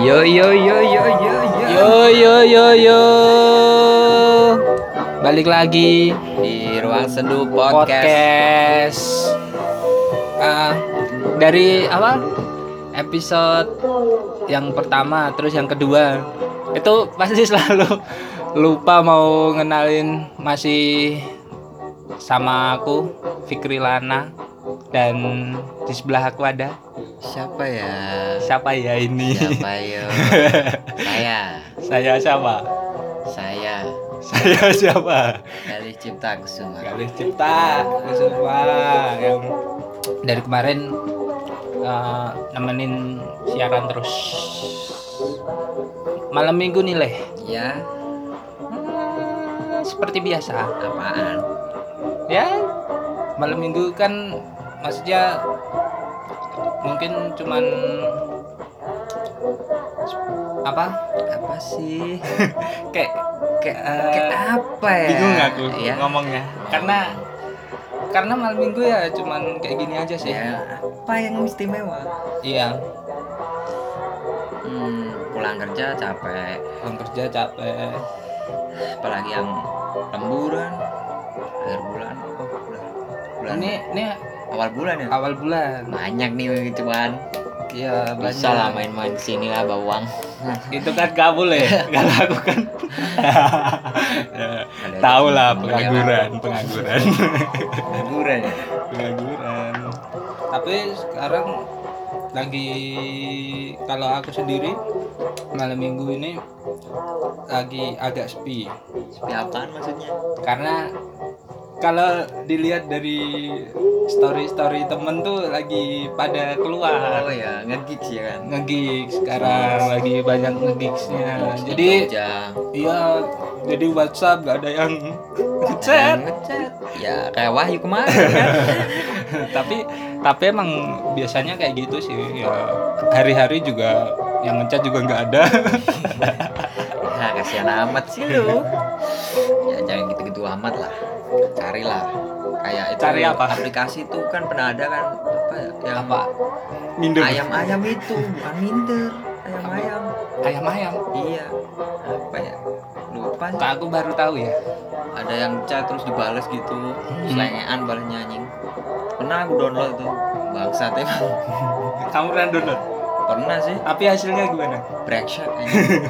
Yo yo yo yo yo yo. Yo yo yo yo. Balik lagi Di ruang seduh podcast. podcast. Ah, dari apa? Episode yang pertama terus yang kedua. Itu pasti selalu lupa mau ngenalin masih sama aku Fikri Lana dan di sebelah aku ada Siapa ya? siapa ya ini? Siapa yo? Saya, Saya siapa? saya Saya siapa? dari Cipta Kusuma. Galih Cipta Kusuma yang dari kemarin eh, nemenin siaran terus malam minggu nih leh Ya, Hmm, seperti biasa apaan? ya malam minggu kan maksudnya mungkin cuman apa Apa sih? kayak Kayak Eh, kayak apa ya? bingung aku Ya. ngomongnya karena karena malam minggu ya cuman kayak gini aja sih Ya, apa yang istimewa? iya Hmm, pulang kerja capek, Pulang kerja capek. apalagi yang lemburan akhir bulan. Oh, bulan. Bulan Ini ini awal bulan ya? awal bulan. Banyak nih cuman. Iya, Bisa lah main-main sini lah bawang. Itu kan gak boleh, gak aku kan. Ada Tahu lah temen pengangguran, pengangguran, Pengangguran ya. pengangguran. Tapi sekarang lagi kalau aku sendiri malam minggu ini lagi agak sepi Sepi apaan maksudnya? karena kalau dilihat dari story-story temen tuh lagi pada keluar Oh ya, ngegig sih ya kan. ngegig sekarang lagi banyak ngegigsnya jadi Jogja. iya jadi WhatsApp gak ada yang Dan chat ngechat. Ya kayak Wahyu kemarin kan. tapi tapi emang biasanya kayak gitu sih ya hari-hari juga yang ngechat juga nggak ada ya kasihan amat sih lu. Ya jangan gitu-gitu amat lah. Carilah kayak itu Cari apa? aplikasi itu kan pernah ada kan apa ya, yang minder ayam-ayam itu bukan minder ayam-ayam ayam ayam iya apa ya lupa sih. aku baru tahu ya ada yang chat terus dibales gitu selengean balesnya anjing pernah aku download itu bangsat emang kamu pernah download pernah sih tapi hasilnya gimana breakshot anjing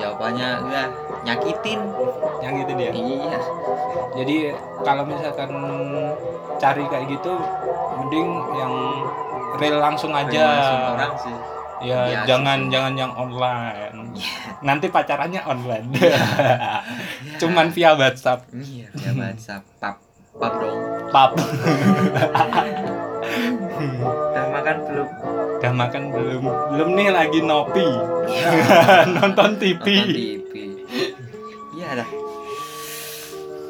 jawabannya udah nyakitin yang gitu dia iya jadi kalau misalkan cari kayak gitu mending yang real langsung aja langsung orang sih Ya, Biasa jangan sih. jangan yang online. Nanti pacarannya online. Cuman via WhatsApp, iya ya bahasa pap pap dong pap. udah makan belum Udah makan belum? Belum nih lagi nopi. Iya. Nonton Ya, TV. nonton TV iya dah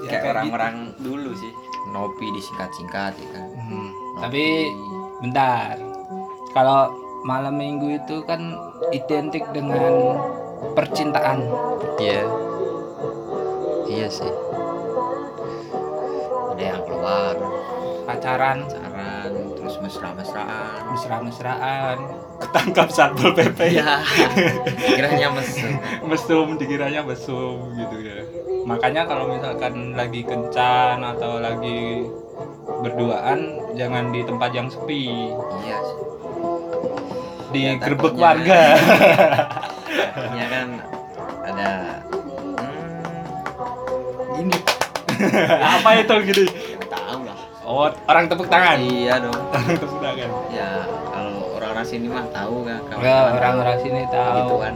Ya, kayak gitu. kayak orang-orang dulu sih nopi disingkat-singkat ya kan gitu. Hmm. Tapi bentar. Kalau malam minggu itu kan identik dengan percintaan. Iya. Iya sih. Ada yang keluar, Pacaran, pacaran, terus mesra-mesraan. mesra-mesraan, ketangkap satpol PP. Iya. Kiranya Iya mesum. mesum dikiranya mesum gitu ya makanya kalau misalkan lagi kencan atau lagi berduaan jangan di tempat yang sepi Iya sih. di Ya, gerbek takutnya. warga Iya kan ada hmm, gini. apa itu gini Ya, tahu lah. oh orang tepuk tangan Iya dong. orang tepuk tangan Ya kalau orang-orang sini mah tahu kan kalau ya orang-orang sini gitu tahu kan.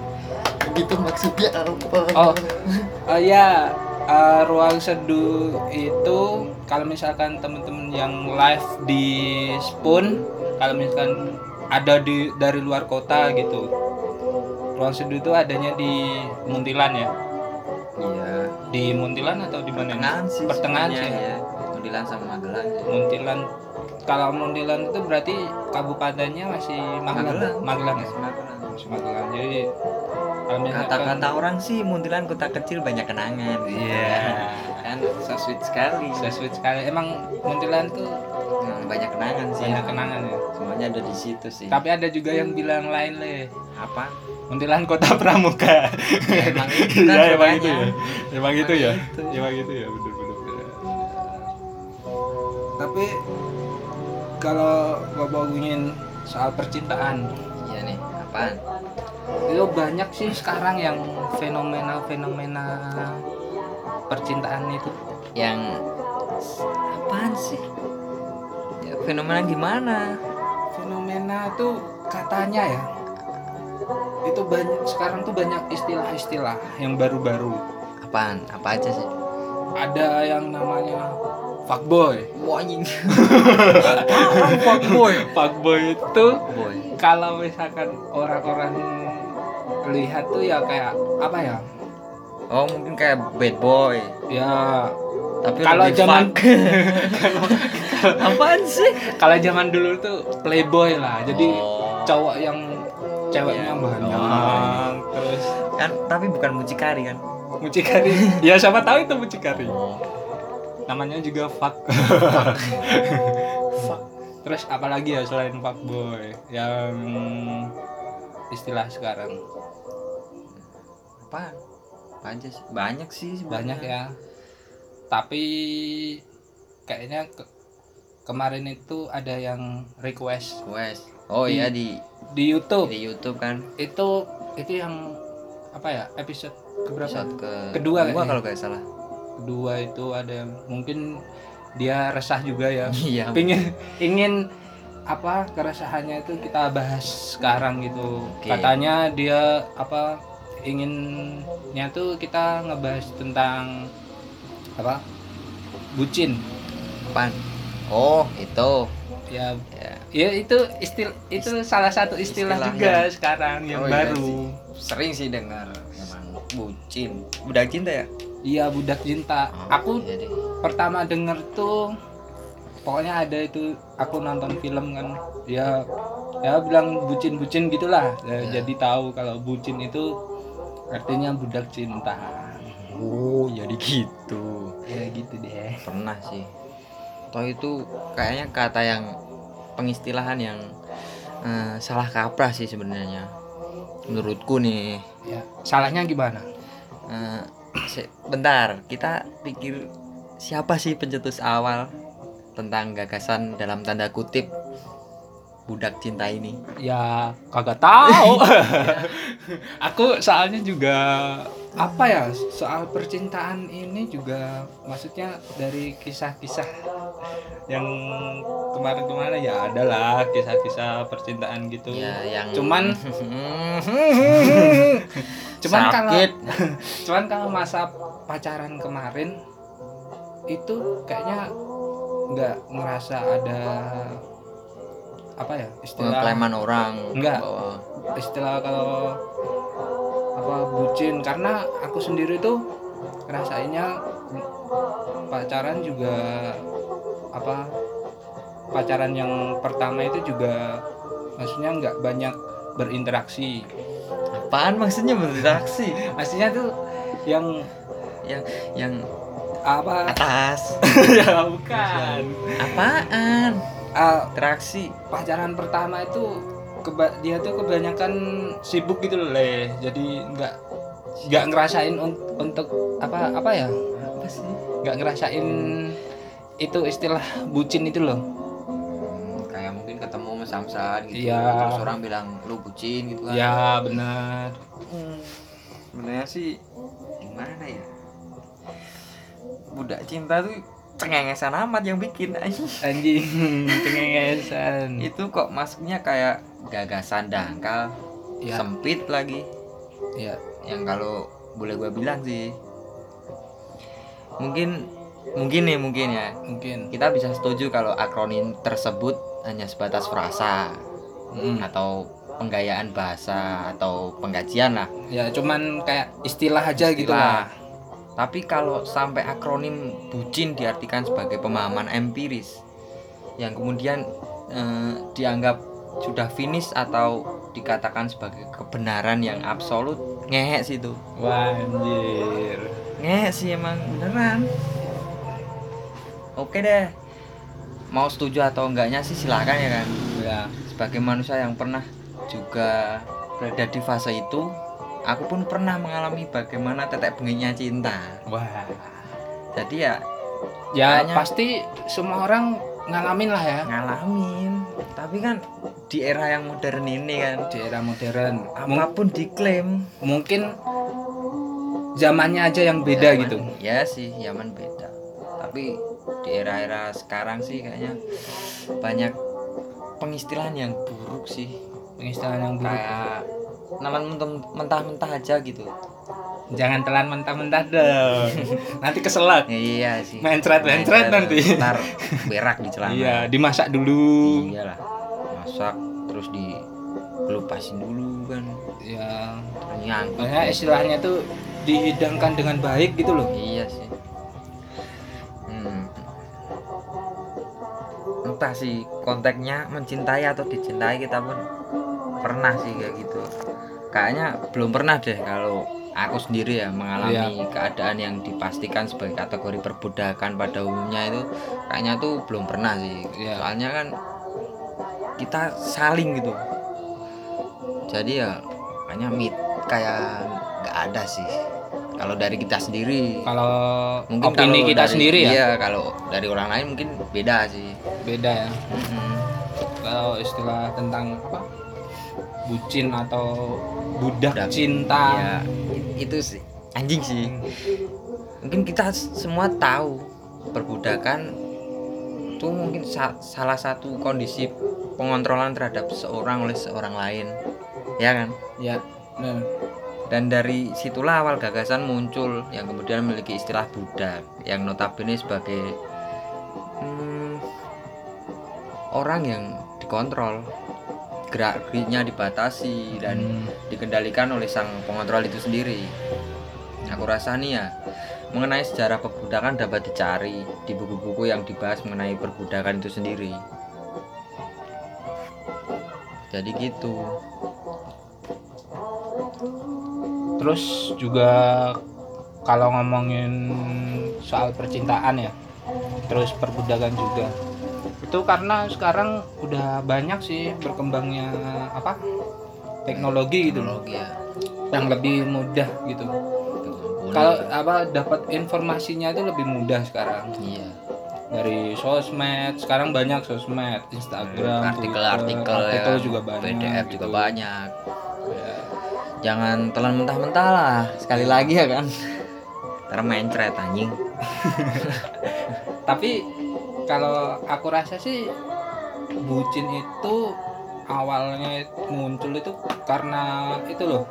Gitu maksudnya apa? oh oh ya eh, ruang seduh itu kalau misalkan teman-teman yang live di Spoon kalau misalkan ada di dari luar kota gitu ruang seduh itu adanya di Muntilan ya Iya. di Muntilan atau di mana Pertengahan sih. Pertengahan sebenarnya, sih. ya. Mundilan sama Magelang. sih. Muntilan kalau Muntilan itu berarti kabupatennya masih Magelang Magelang ya Masih Magelang jadi kalau misalkan Kata-kata orang sih Muntilan kota kecil banyak kenangan. gitu iya Kan Kan so sweet sekali. so sweet sekali emang Muntilan tuh Kenangan- banyak kenangan sih banyak ya. kenangan ya semuanya ada di situ sih tapi ada juga yang bilang lain le apa Muntilan Kota Pramuka Ya, emang itu kan Iya, semuanya. emang itu ya emang Emang gitu ya gitu. emang gitu ya bener-bener tapi kalau gak ngomongin soal percintaan iya nih apaan itu banyak sih sekarang yang fenomena-fenomena percintaan itu yang apaan sih ya, fenomena gimana fenomena tuh katanya ya itu banyak sekarang tuh banyak istilah-istilah yang baru-baru apaan apa aja sih ada yang namanya fuckboy Wah, anjing Apaan fuckboy fuckboy itu boy kalau misalkan orang-orang lihat tuh ya kayak apa ya oh mungkin kayak bad boy ya tapi Kalau lebih zaman- fuck. apaan sih kalau zaman dulu tuh playboy lah jadi Oh. cowok yang ceweknya Iya. banyak terus kan tapi bukan mucikari kan mucikari ya siapa tahu itu mucikari oh namanya juga fuck fuck terus apalagi ya selain fuck boy yang istilah sekarang apaan apa aja sih banyak sih banyak sebenarnya. ya tapi kayaknya ke- kemarin itu ada yang request Wes. Oh iya di di YouTube di YouTube kan. itu itu yang apa ya episode keberapa Episode ke Kedua kayaknya. kalau nggak salah. kedua itu ada yang mungkin dia resah juga ya Iya. pingin ingin apa keresahannya itu kita bahas sekarang gitu Oke. katanya dia apa inginnya tuh kita ngebahas tentang apa bucin Apaan? Oh, itu. ya Ya, ya itu istil itu salah satu istilah, Istilah juga yang- sekarang yang Oh, iya baru sih. sering sih dengar emang bucin. Budak cinta ya? iya budak cinta aku iya deh. pertama denger tuh pokoknya ada itu aku nonton film kan dia ya bilang bucin-bucin gitulah Ya. Ya, jadi tahu kalau bucin itu artinya budak cinta Oh, jadi gitu. ya gitu deh Pernah sih. Toh itu kayaknya kata yang pengistilahan yang eh, salah kaprah sih sebenarnya. Menurutku nih. ya salahnya gimana Eh, se- bentar, kita pikir siapa sih pencetus awal tentang gagasan dalam tanda kutip budak cinta ini? ya kagak tahu aku soalnya juga apa ya soal percintaan ini juga maksudnya dari kisah-kisah yang kemarin-kemarin ya adalah kisah-kisah percintaan gitu Ya, yang Cuman- cuman kalau sakit. cuman kalau masa pacaran kemarin itu kayaknya nggak ngerasa ada apa ya istilah Pengeklaman orang Enggak. bahwa istilah kalau apa bucin karena aku sendiri tuh rasanya pacaran juga apa pacaran yang pertama itu juga maksudnya nggak banyak berinteraksi apaan maksudnya berinteraksi maksudnya tuh yang yang yang apa atas ya bukan apaan Ah, interaksi pacaran pertama itu keba- dia tuh kebanyakan sibuk gitu loh leh jadi nggak nggak ngerasain un- untuk apa apa ya apa sih nggak ngerasain itu istilah bucin itu loh Hmm, kayak mungkin ketemu sama samsan gitu Iya. terus orang bilang lu bucin gitu kan ya benar sebenarnya sih gimana ya budak cinta tuh cengengesan amat yang bikin anjing. anjing cengengesan itu kok masuknya kayak gagasan dangkal Iya. ya sempit lagi ya yang kalau boleh gue bilang sih mungkin mungkin nih mungkin ya mungkin kita bisa setuju kalau akronim tersebut hanya sebatas frasa Mm. atau penggayaan bahasa atau penggajian lah ya cuman kayak istilah aja gitu Istilah. lah Tapi kalau sampai akronim bucin diartikan sebagai pemahaman empiris yang kemudian eh, dianggap sudah finish atau dikatakan sebagai kebenaran yang absolut ngehek sih itu wah anjir ngehek sih emang beneran oke deh mau setuju atau enggaknya sih silakan ya kan ya sebagai manusia yang pernah juga berada di fase itu aku pun pernah mengalami bagaimana tetek benginya cinta wah jadi ya ya Kayaknya- pasti semua orang ngalamin lah ya ngalamin tapi kan di era yang modern ini kan di era modern Mung- apapun diklaim mungkin zamannya aja yang beda Zaman- gitu ya sih zaman beda tapi di era-era sekarang sih kayaknya banyak pengistilahan yang buruk sih pengistilahan yang buruk kayak naman mentem- mentah-mentah aja gitu jangan telan mentah-mentah dong nanti keselak iya sih Mencret- mencret nanti. ntar berak di celana iya dimasak dulu iyalah masak terus di kelupasin dulu kan ya terus nyangkut makanya istilahnya tuh dihidangkan dengan baik gitu loh iya sih hmm. entah sih konteksnya mencintai atau dicintai kita pun pernah sih kayak gitu kayaknya belum pernah deh kalau aku sendiri ya mengalami keadaan yang dipastikan sebagai kategori perbudakan pada umumnya itu kayaknya tuh belum pernah sih Iya. soalnya kan kita saling gitu jadi ya kayaknya mit kayak nggak ada sih kalau dari kita sendiri kalau mungkin opini kalau kita dari- sendiri ya iya, kalau dari orang lain mungkin beda sih beda ya Mm-mm. kalau istilah tentang apa bucin atau budak Budak. cinta Iya, i- itu sih anjing sih mungkin kita s- semua tahu perbudakan itu mungkin sa- salah satu kondisi pengontrolan terhadap seorang oleh seorang lain ya kan ya nah, dan dari situlah awal gagasan muncul yang kemudian memiliki istilah budak yang notabene sebagai hmm, orang yang dikontrol gerak geriknya dibatasi dan Hmm. dikendalikan oleh sang pengontrol itu sendiri. Aku rasa nih ya, mengenai sejarah perbudakan dapat dicari di buku-buku yang dibahas mengenai perbudakan itu sendiri. Jadi gitu. terus juga kalau ngomongin soal percintaan ya terus perbudakan juga itu karena sekarang udah banyak sih berkembangnya apa teknologi gitu loh Teknologi ya. yang lebih mudah gitu Betul. Boleh. kalau apa dapat informasinya itu lebih mudah sekarang iya. dari sosmed sekarang banyak sosmed Instagram Twitter, Hmm, artikel-artikel ya Ya artikel kan. juga banyak PDF gitu. juga banyak. Ya. Jangan telan mentah-mentah lah sekali lagi ya kan. Termencret anjing. tapi kalau aku rasa sih bucin itu awalnya muncul itu karena itu loh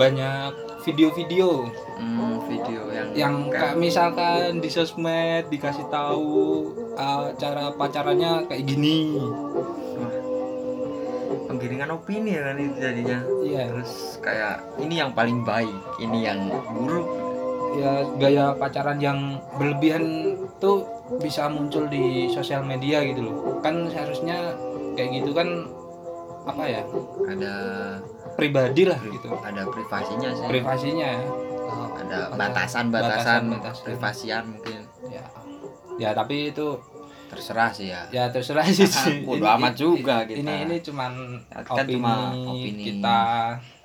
banyak video-video Hmm, video yang yang Kan. kayak misalkan di sosmed dikasih tahu uh, cara pacarannya kayak gini penggiringan opini ya kan itu jadinya. iya terus kayak ini yang paling baik ini yang buruk ya gaya pacaran yang berlebihan tuh bisa muncul di sosial media gitu loh kan seharusnya kayak gitu kan apa ya ada pribadi lah gitu ada privasinya sih privasinya ya. Oh, ada batasan batasan Batasan-batasan. privasian mungkin ya ya tapi itu terserah sih ya ya terserah sih sih. Bodo Ini- amat juga kita. ini ini cuman Kan opini, cuma opini. kita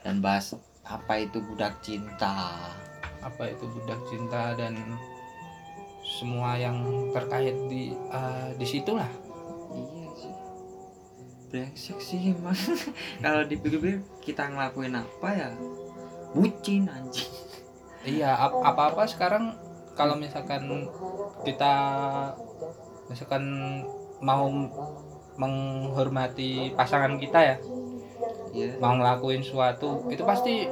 dan bahas apa itu budak cinta apa itu budak cinta dan semua yang terkait di eh, di situlah iya sih brengsek sih emang kalau dipikir-pikir kita ngelakuin apa ya bucin anjing iya apa apa sekarang kalau misalkan kita misalkan mau menghormati pasangan kita ya ya mau ngelakuin suatu itu pasti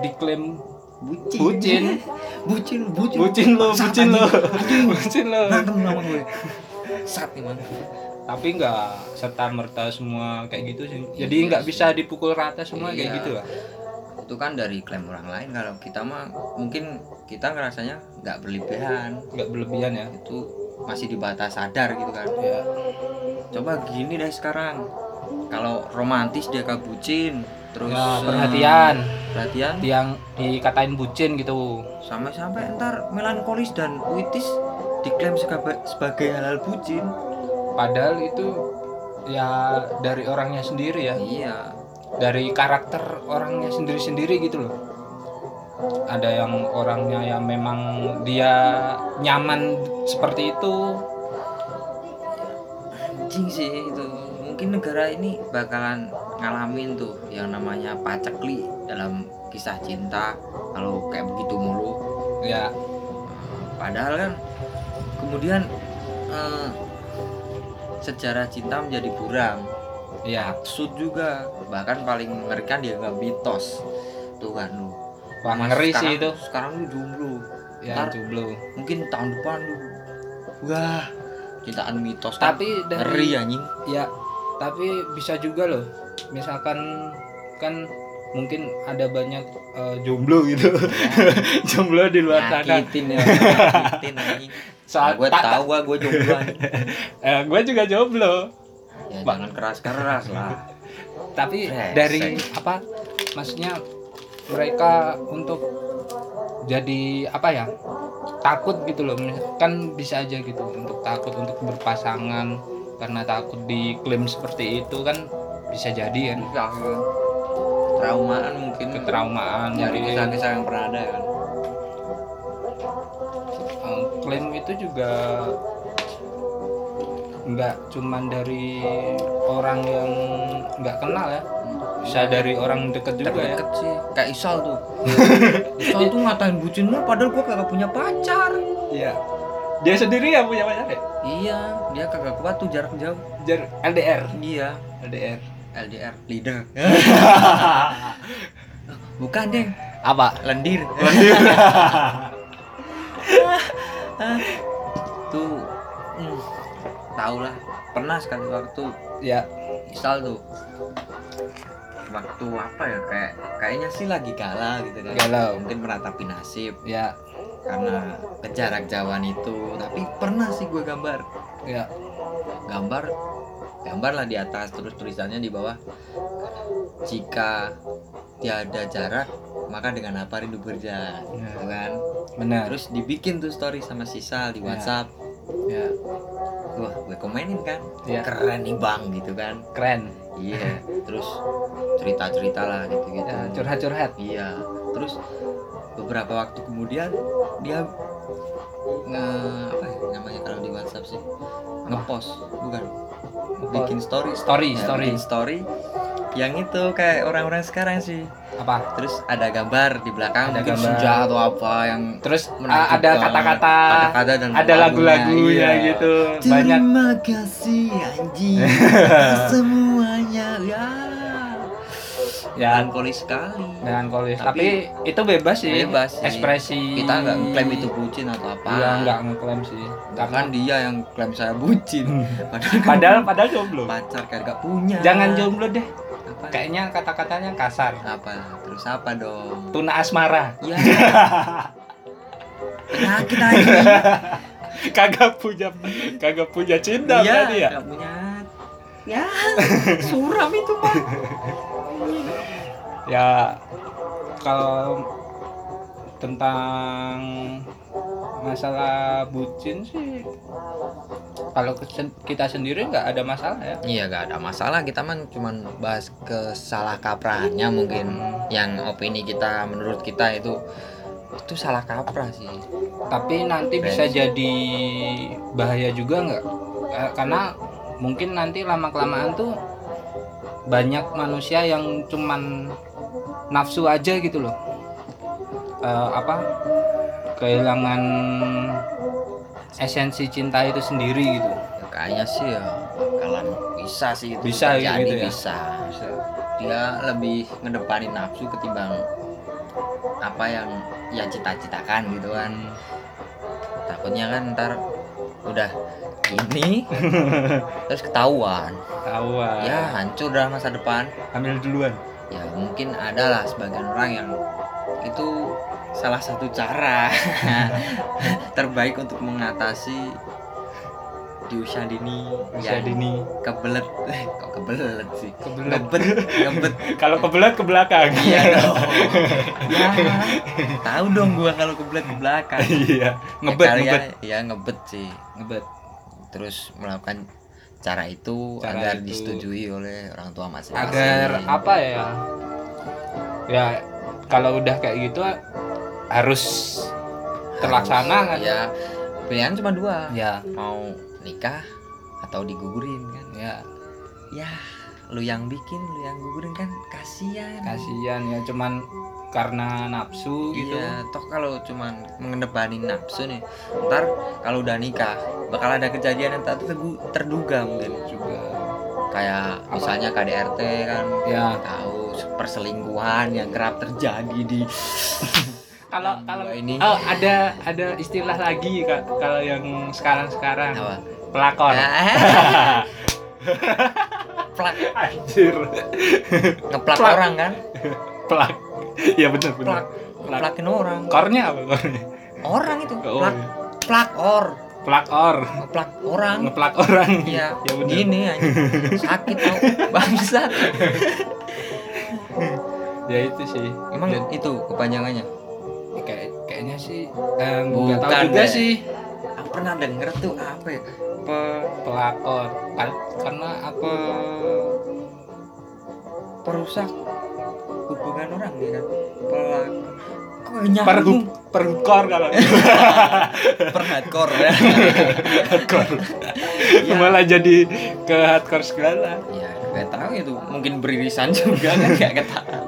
diklaim bucin Bucin. bucin bucin bucin lo Bangsat, bucin lo anjing. Anjing. bucin lo Berantem sama gue sat nih man tapi nggak serta merta semua kayak gitu sih jadi Iya nggak sih. bisa dipukul rata semua kayak Iya. gitu lah itu kan dari klaim orang lain kalau kita mah mungkin kita ngerasanya nggak berlebihan nggak berlebihan ya itu masih di batas sadar gitu kan ya coba gini deh sekarang kalau romantis dia kabucin terus eh, Nah, perhatian perhatian yang dikatain bucin gitu sampai-sampai ntar melankolis dan puitis diklaim sebagai, sebagai halal bucin padahal itu ya dari orangnya sendiri ya iya dari karakter orangnya sendiri-sendiri gitu loh ada yang orangnya yang memang dia nyaman seperti itu anjing sih itu mungkin negara ini bakalan ngalamin tuh yang namanya pacekli dalam kisah cinta kalau kayak begitu mulu ya Padahal kan kemudian eh, sejarah cinta menjadi buram, ya sud juga bahkan paling mengerikan dia nggak mitos tuh kan lu. wah Mas, ngeri sekarang- sih itu Sekarang lu jomblo, ya Ntar- jomblo mungkin tahun depan lu wah cintaan mitos kan tapi ngeri dari anjing. ya tapi bisa juga loh misalkan kan mungkin ada banyak eh, jomblo gitu jomblo di luar sana Nyakitin ya, nyakitin anjing. soal gue tak- tahu gue jomblo anjing. eh, gue juga jomblo Ya, Bang. jangan keras-keras lah. tapi Brengsek. dari apa maksudnya mereka untuk jadi apa ya takut gitu loh kan bisa aja gitu untuk takut untuk berpasangan karena takut diklaim seperti itu kan bisa jadi kan Bisa ke ya, traumaan mungkin. ketraumaan Nyari dari kisah-kisah yang pernah ada kan. Eh, klaim itu juga nggak cuman dari orang yang nggak kenal ya bisa dari orang deket juga ya Deket sih kayak Isal tuh Isal tuh ngatain bucin lu padahal gua kagak punya pacar Iya. dia sendiri yang punya pacar ya iya dia kagak kuat tuh jarak jauh Jar LDR iya LDR LDR leader bukan deh apa lendir tuh hmm, tau lah pernah sekali waktu ya Isal tuh waktu apa ya kayak kayaknya sih lagi galau gitu kan galau mungkin meratapi nasib ya karena kejarak jauhan itu tapi pernah sih gue gambar ya gambar gambar lah di atas terus tulisannya di bawah jika tiada jarak maka dengan apa rindu berjalan gitu kan benar terus dibikin tuh story sama sisa di Ya. WhatsApp ya wah gue komenin kan ya keren nih bang gitu kan keren iya terus cerita cerita lah gitu gitu ya, curhat curhat Iya, terus beberapa waktu kemudian dia nge apa ya namanya kalau di WhatsApp sih ngepost bukan bikin story story Ya, story bikin story yang itu kayak orang-orang sekarang sih apa terus ada gambar di belakang Ada mungkin gambar. senja atau apa yang terus menakjubkan. ah, ada kata-kata kata-kata dan ada lagu-lagunya lagunya, iya. gitu banyak Terima kasih anjing semuanya ya Ya. melankolis sekali melankolis tapi, Tapi- itu bebas sih Bebas sih. ekspresi kita nggak klaim itu bucin atau apa Iya, nggak ngeklaim sih kan? bahkan dia yang klaim saya bucin padahal kan padahal padahal jomblo pacar kayak gak punya jangan jomblo deh apa kayaknya kata-katanya kasar apa terus apa dong tuna asmara ya penyakit aja kagak punya kagak punya cinta iya berarti ya gak punya ya suram itu mah ya kalau tentang masalah bucin sih kalau ke- sen- kita sendiri nggak ada masalah ya iya gak ada masalah kita mah cuman bahas kesalah kaprahnya mungkin yang opini kita menurut kita itu itu salah kaprah sih Ya, tapi nanti bisa jadi bahaya juga nggak Eh, karena mungkin nanti lama kelamaan tuh banyak manusia yang cuman nafsu aja gitu loh Eh, apa kehilangan esensi cinta itu sendiri gitu Ya, kayaknya sih ya bakalan bisa sih itu Bisa gitu terjadi, ya? bisa dia lebih ngedepanin nafsu ketimbang apa yang ya cita-citakan gitu kan takutnya kan ntar udah ini terus ketahuan Tawa. ya hancur dah masa depan ambil duluan. ya mungkin adalah sebagian orang yang itu salah satu cara terbaik untuk mengatasi di usia dini Usia yang dini. kebelet eh, kok kebelet sih Ya. Kebelet. ngebet ngebet Kalau kebelet ke belakang. iya dong ya tahu dong gua kalau kebelet ke belakang Iya. Ya, Ngebet, kali ya, ngebet, ya ngebet sih ngebet. terus melakukan cara itu Cara agar itu. disetujui oleh orang tua masing-masing agar apa ya ya kalau udah kayak gitu harus terlaksana Harus, kan? ya pilihan cuma dua ya mau nikah atau digugurin kan ya ya lu yang bikin lu yang gugurin kan kasihan kasihan ya cuman karena nafsu gitu Iya, toh kalau cuman mengenebani nafsu nih, ntar kalau udah nikah bakal ada kejadian yang tak tergu- terduga mungkin. juga Kayak Apa? misalnya KDRT kan, ya tahu perselingkuhan yang kerap terjadi di yang kalau kalau dua ini oh ada ada istilah lagi Kak, kalau yang sekarang sekarang apa? Eh, pelakor Plak, anjir ngeplak Plak. orang kan? pelak ya benar benar Plak, ngeplakin orang. kornya apa kornya Orang itu, oh, plak, plak or, pelakor ngeplak orang. ngeplak orang Iya, ya benar gini anjing. sakit tau bangsat. ya itu sih Emang Ya, itu kepanjangannya? Eh, kayak kayaknya sih eh, Bukan nggak tahu juga deh. sih Aku pernah denger tuh apa ya? Pe- pelakor Kar- karena apa perusak hubungan orang ya kan? Pelak Kok nyambung? perhub perhukor kalau Iya. per hardcore ya. Iya. hardcore Ya. malah jadi ke hardcore segala ya gak tahu itu mungkin beririsan juga kan gak ketahuan.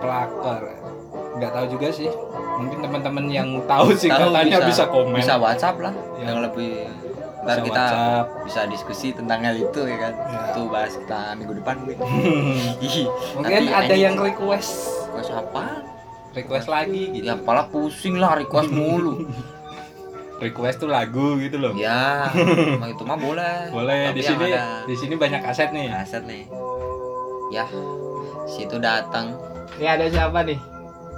pelakor nggak tahu juga sih mungkin teman-teman yang tahu sih Tahu katanya bisa, komen Bisa WhatsApp lah Ya. yang lebih ntar Bisa kita WhatsApp. bisa diskusi tentang hal itu ya kan. Ya. Itu bahas kita minggu depan mungkin. mungkin Nanti ada ini- yang request Request apa? request lagi gitu Ya kepala pusing lah request mulu. request tuh lagu gitu loh Ya, emang itu mah boleh. boleh Tapi di yang sini ada di sini banyak aset nih aset nih. Ya, situ datang. ini ada siapa nih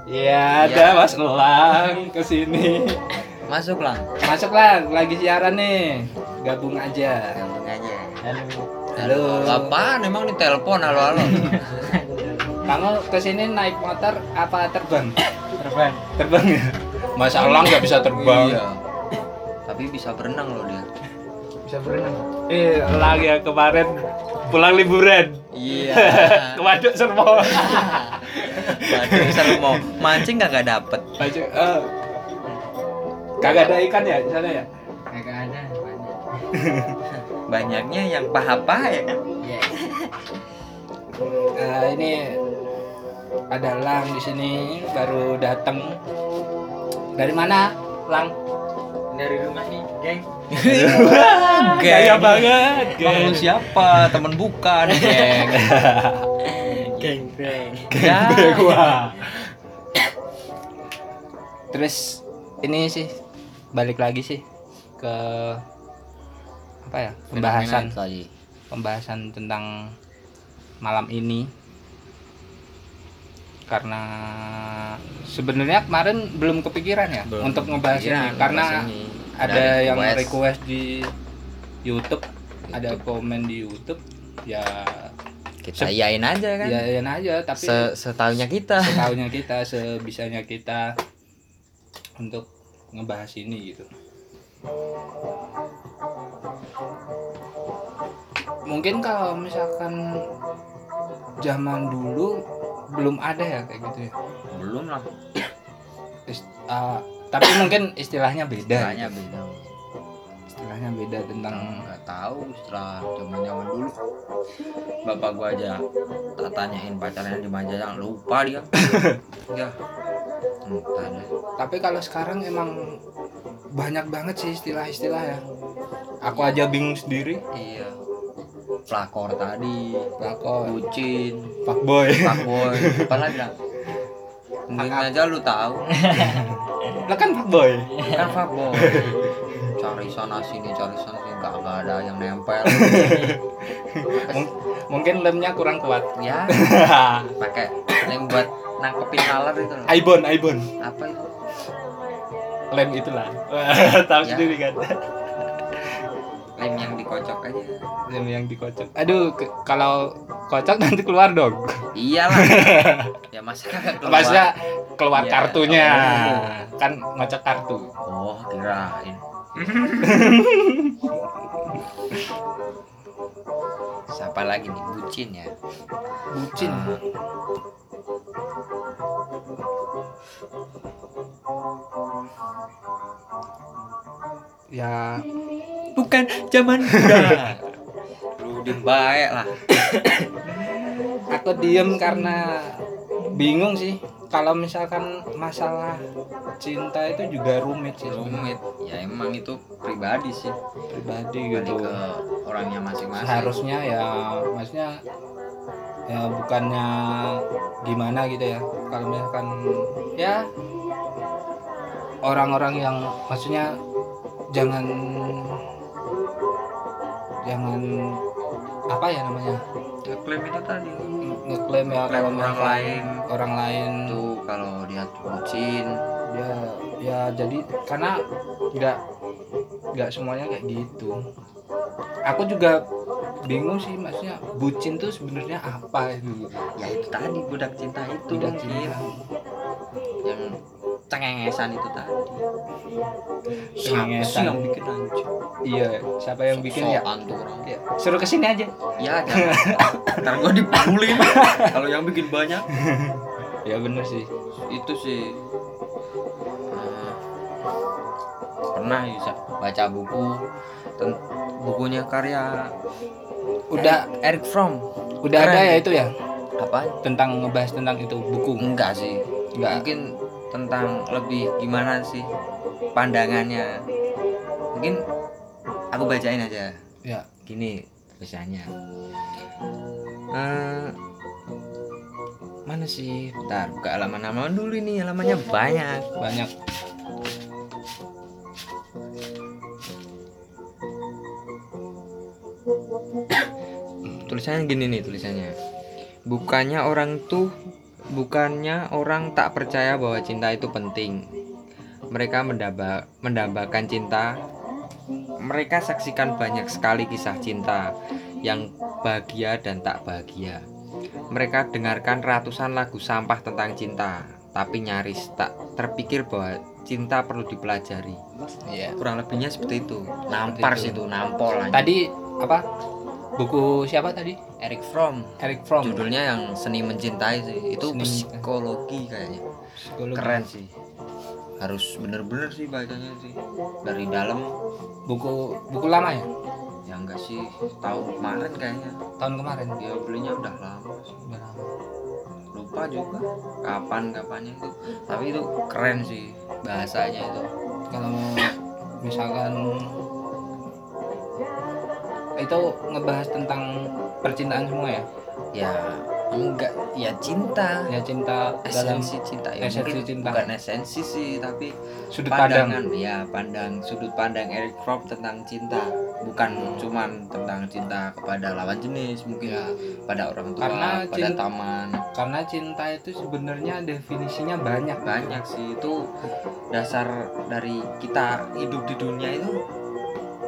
ya ada Iya. mas Elang kesini Masuk lah. masuklah lagi siaran nih gabung aja Ganteng aja. halo Apaan emang nih telepon halo halo. kamu kesini naik motor apa terbang terbang terbang ya masa Elang nggak bisa Iya. Tapi bisa berenang loh dia. bisa berenang eh lang ya kemarin pulang liburan Iya. ke waduk serpong Waduh, seru mau mancing nggak gak dapet. Baju, eh, kagak ada ikan ya di sana ya Kagak ada banyak. Banyaknya yang paha-paha ya kan. Iya. Eh, ini ada lang di sini baru datang dari mana lang Dari rumah nih, geng. gaya banget Emang lu geng. siapa? Temen bukan, geng. Geng, geng. Ya. Wah. terus ini sih balik lagi sih ke apa ya pembahasan tadi. pembahasan tentang malam ini karena sebenarnya kemarin belum kepikiran ya Belum untuk ngebahas kepikiran ini karena ngebahas Iya, ini. ada yang request di YouTube, ada Gitu. komen di YouTube ya kita iain aja kan. ya yain aja tapi Se setahunya kita. setahunya kita sebisanya kita untuk ngebahas ini gitu mungkin kalau misalkan zaman dulu belum ada ya kayak gitu ya Belum lah. Ist- ah, tapi mungkin istilahnya beda Istilahnya beda. istilahnya beda gitu. tentang Nggak tahu setelah zaman zaman dulu. Bapak gua aja tak tanyain pacarnya di Majalah lupa dia. ya. Entah deh. tapi kalau sekarang emang banyak banget sih istilah-istilah ya aku aja bingung sendiri Iya. Pelakor tadi, pelakor bucin, fuckboy fuckboy, apa lagi lah. Mungkin aja lu tahu. lah kan fuckboy kan fuckboy cari sana sini cari sana sini nggak nggak ada yang nempel Mung- mungkin lemnya kurang kuat ya pakai yang buat nangkepin laler itu loh. Aibon, Aibon, apa itu lem itulah. Tahu Ya. sendiri kan. lem yang dikocok aja Lem yang dikocok. Aduh, ke- kalau kocok nanti keluar dong. iyalah ya masa kagak keluar Maksudnya keluar Iya. kartunya. Oh. Kan ngocok kartu. oh kirain Siapa lagi nih bucin ya? bucin Ah. ya Bukan zaman muda. Lu diem baik lah. aku diem karena bingung sih kalau misalkan masalah cinta itu juga rumit sih sebenarnya Rumit. Ya emang itu pribadi sih. pribadi Pribadi gitu ke orangnya masing-masing. seharusnya ya maksudnya ya bukannya gimana gitu ya kalau misalkan ya orang-orang yang maksudnya jangan jangan apa ya namanya Klaim itu tadi. ngeklaim ya kalau Klaim orang misalkan lain. orang lain Itu kalau dia bucin, ya ya jadi karena nggak nggak semuanya kayak gitu aku juga bingung sih maksudnya bucin tuh sebenarnya apa itu ya itu tadi budak cinta itu Budak mungkin. cinta. yang cengengesan itu tadi. Siapa sih Cengengesan. yang bikin anjir? iya siapa yang bikin ya Sok-sokan tuh orang. Ya, suruh kesini aja Ya, jangan. Ntar gue dibully kalau yang bikin banyak. ya bener sih Itu sih eh, pernah ya, Sa, baca buku ten- bukunya karya udah Eric Fromm. udah Keren. ada ya itu ya Apa? tentang ngebahas tentang itu buku Enggak sih. Enggak. Mungkin tentang lebih gimana sih pandangannya. Mungkin aku bacain aja. ya gini tulisannya Eh, mana sih bentar buka halaman halaman dulu ini halamannya banyak banyak tulisannya gini nih tulisannya bukannya orang tuh bukannya orang tak percaya bahwa cinta itu penting mereka mendaba mendambakan cinta mereka saksikan banyak sekali kisah cinta yang bahagia dan tak bahagia mereka dengarkan ratusan lagu sampah tentang cinta tapi nyaris tak terpikir bahwa cinta perlu dipelajari Iya. kurang lebihnya seperti itu nampar Seperti sih itu. itu nampol anjing. tadi apa buku siapa tadi Eric Fromm Eric Fromm judulnya yang seni mencintai sih itu Seni mencintai. psikologi kayaknya Psikologi. keren sih harus bener-bener sih bacanya sih dari dalam buku buku lama ya ya enggak sih tahun kemarin kayaknya tahun kemarin dia belinya udah lama sih Udah lama. lupa juga kapan kapannya itu tapi itu keren sih bahasanya itu kalau misalkan itu ngebahas tentang percintaan semua ya ya enggak ya cinta ya cinta dalam esensi cinta ya esensi mungkin cinta. bukan esensi sih tapi sudut pandang pandangan ya pandang sudut pandang Eric Fromm tentang cinta bukan cuman tentang cinta kepada lawan jenis mungkin Ya. pada orang tua Karena pada cinta- taman karena cinta itu sebenarnya definisinya banyak banyak sih itu dasar dari kita hidup di dunia itu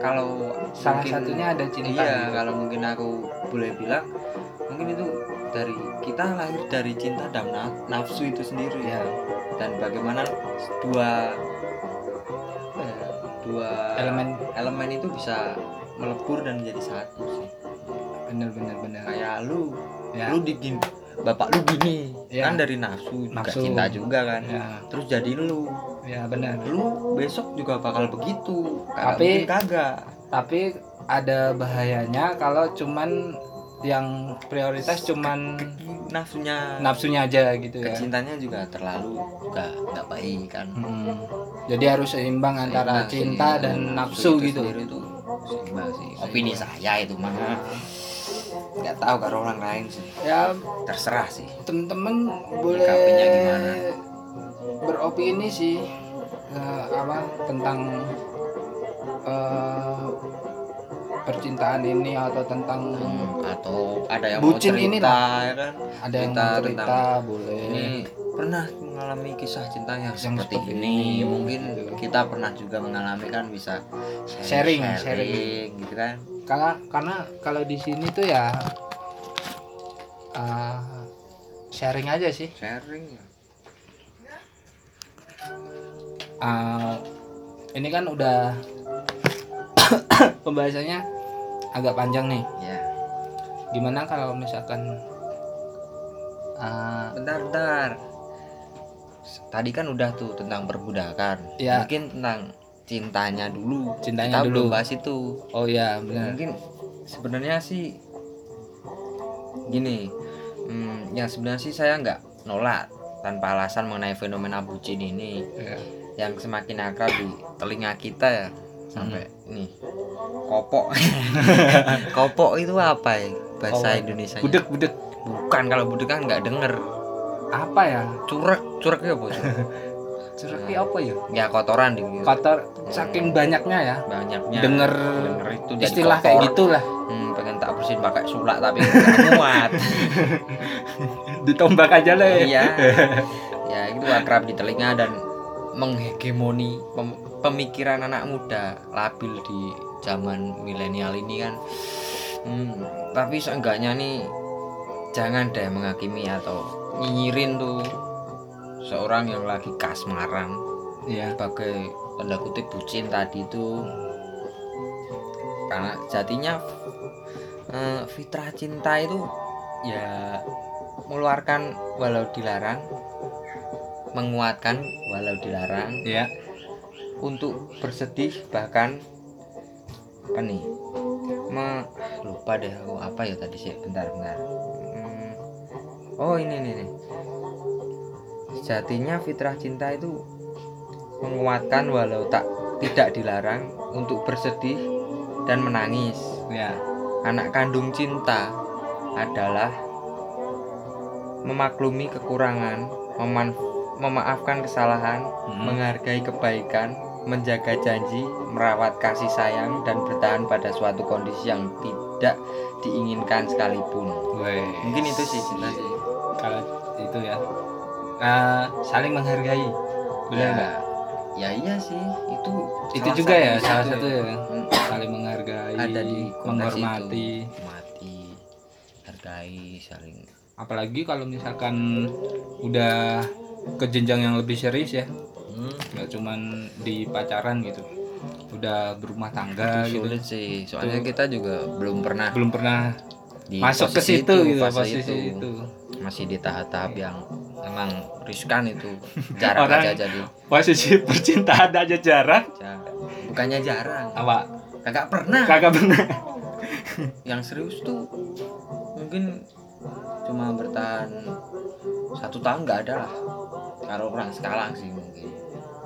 kalau salah mungkin- satunya ada cinta iya gitu. kalau mungkin aku boleh bilang mungkin itu dari kita lahir dari cinta dan na- nafsu itu sendiri ya dan bagaimana dua apa ya, dua elemen elemen itu bisa melebur dan menjadi satu sih bener bener bener kayak lu ya lu digin bapak lu gini Ya. kan dari nafsu juga Nafsu. cinta juga kan ya, terus jadi lu ya bener lu besok juga bakal begitu kagak Tapi- mungkin kagak tapi ada bahayanya kalau cuman yang prioritas cuman nafsunya nafsunya aja gitu Hmm. ya kecintanya juga terlalu juga nggak baik kan Hmm. Jadi harus seimbang antara Seimbang cinta sih, dan nafsu itu gitu. sendiri tuh seimbang sih opini saya itu mah nggak tahu kalau orang lain sih Ya terserah sih temen-temen boleh Menyikapinya gimana? beropini sih eh, apa tentang eh, percintaan ini atau tentang Hmm, atau ada yang Bucin mau cerita ini ya kan ada yang cerita mau cerita tentang boleh. ini pernah mengalami kisah cinta yang, Hmm. Yang seperti, seperti ini ini, mungkin gitu. kita pernah juga mengalami kan bisa Sharing, gitu kan Karena karena kalau di sini tuh ya eh, sharing aja sih. sharing Ah, ini kan udah pembahasannya agak panjang nih. ya Gimana kalau misalkan eh, bentar bentar tadi kan udah tuh tentang perbudakan Ya. mungkin tentang cintanya dulu kita Cintanya dulu. belum bahas itu oh ya benar. mungkin sebenarnya sih gini hmm, yang sebenarnya sih saya nggak nolak tanpa alasan mengenai fenomena bucin ini Ya. yang semakin akrab di telinga kita ya sampai Hmm. ini kopok kopok itu apa ya bahasa Kopok. Indonesia Oh. Budek budek bukan kalau budek kan nggak denger apa ya? curek curek ya bos Ceraknya apa ya? ya kotoran di Kotor saking banyaknya ya. banyaknya Denger denger itu jadi istilah kotor. kayak gitu. gitulah. Hmm, pengen tak bersihin pakai sulak tapi nggak muat Ditombak aja lah. ya. iya ya itu akrab di telinga dan menghegemoni pem- pemikiran anak muda labil di zaman milenial ini kan Hmm, tapi seenggaknya nih jangan deh menghakimi atau nyinyirin tuh seorang yang lagi kasmaran Iya. sebagai ya, tanda kutip bucin tadi itu karena jatinya eh, fitrah cinta itu ya mengeluarkan walau dilarang menguatkan walau dilarang Iya. untuk bersedih bahkan apa nih me- lupa deh aku apa ya tadi sih bentar bentar Hmm. oh ini nih nih sejatinya fitrah cinta itu menguatkan walau tak tidak dilarang untuk bersedih dan menangis Iya. anak kandung cinta adalah memaklumi kekurangan meman- memaafkan kesalahan Hmm. menghargai kebaikan, menjaga janji, merawat kasih sayang, dan bertahan pada suatu kondisi yang tidak diinginkan sekalipun. Mungkin itu sih cinta sih. Kalau itu ya. Eh, saling menghargai. Benar ya, nggak? ya iya sih, itu Iya. Itu salah juga satu- ya salah satu ya. Hmm, Saling menghargai, Ada di konteks menghormati. itu. Mati, hargai, saling. Apalagi kalau misalkan udah ke jenjang yang lebih serius ya, Hmm, nggak cuman di pacaran gitu. Udah berumah tangga itu gitu. sulit sih, soalnya kita juga belum pernah Belum pernah di masuk ke posisi situ itu, gitu, fase Iya. posisi itu. masih di tahap-tahap yang emang riskan itu jarak Orang- aja jadi Posisi percintaan aja jarang. Ja- bukannya jarang Apa? kagak pernah Kagak pernah. yang serius tuh mungkin cuma bertahan satu tahun nggak ada lah kalau orang sekarang sih mungkin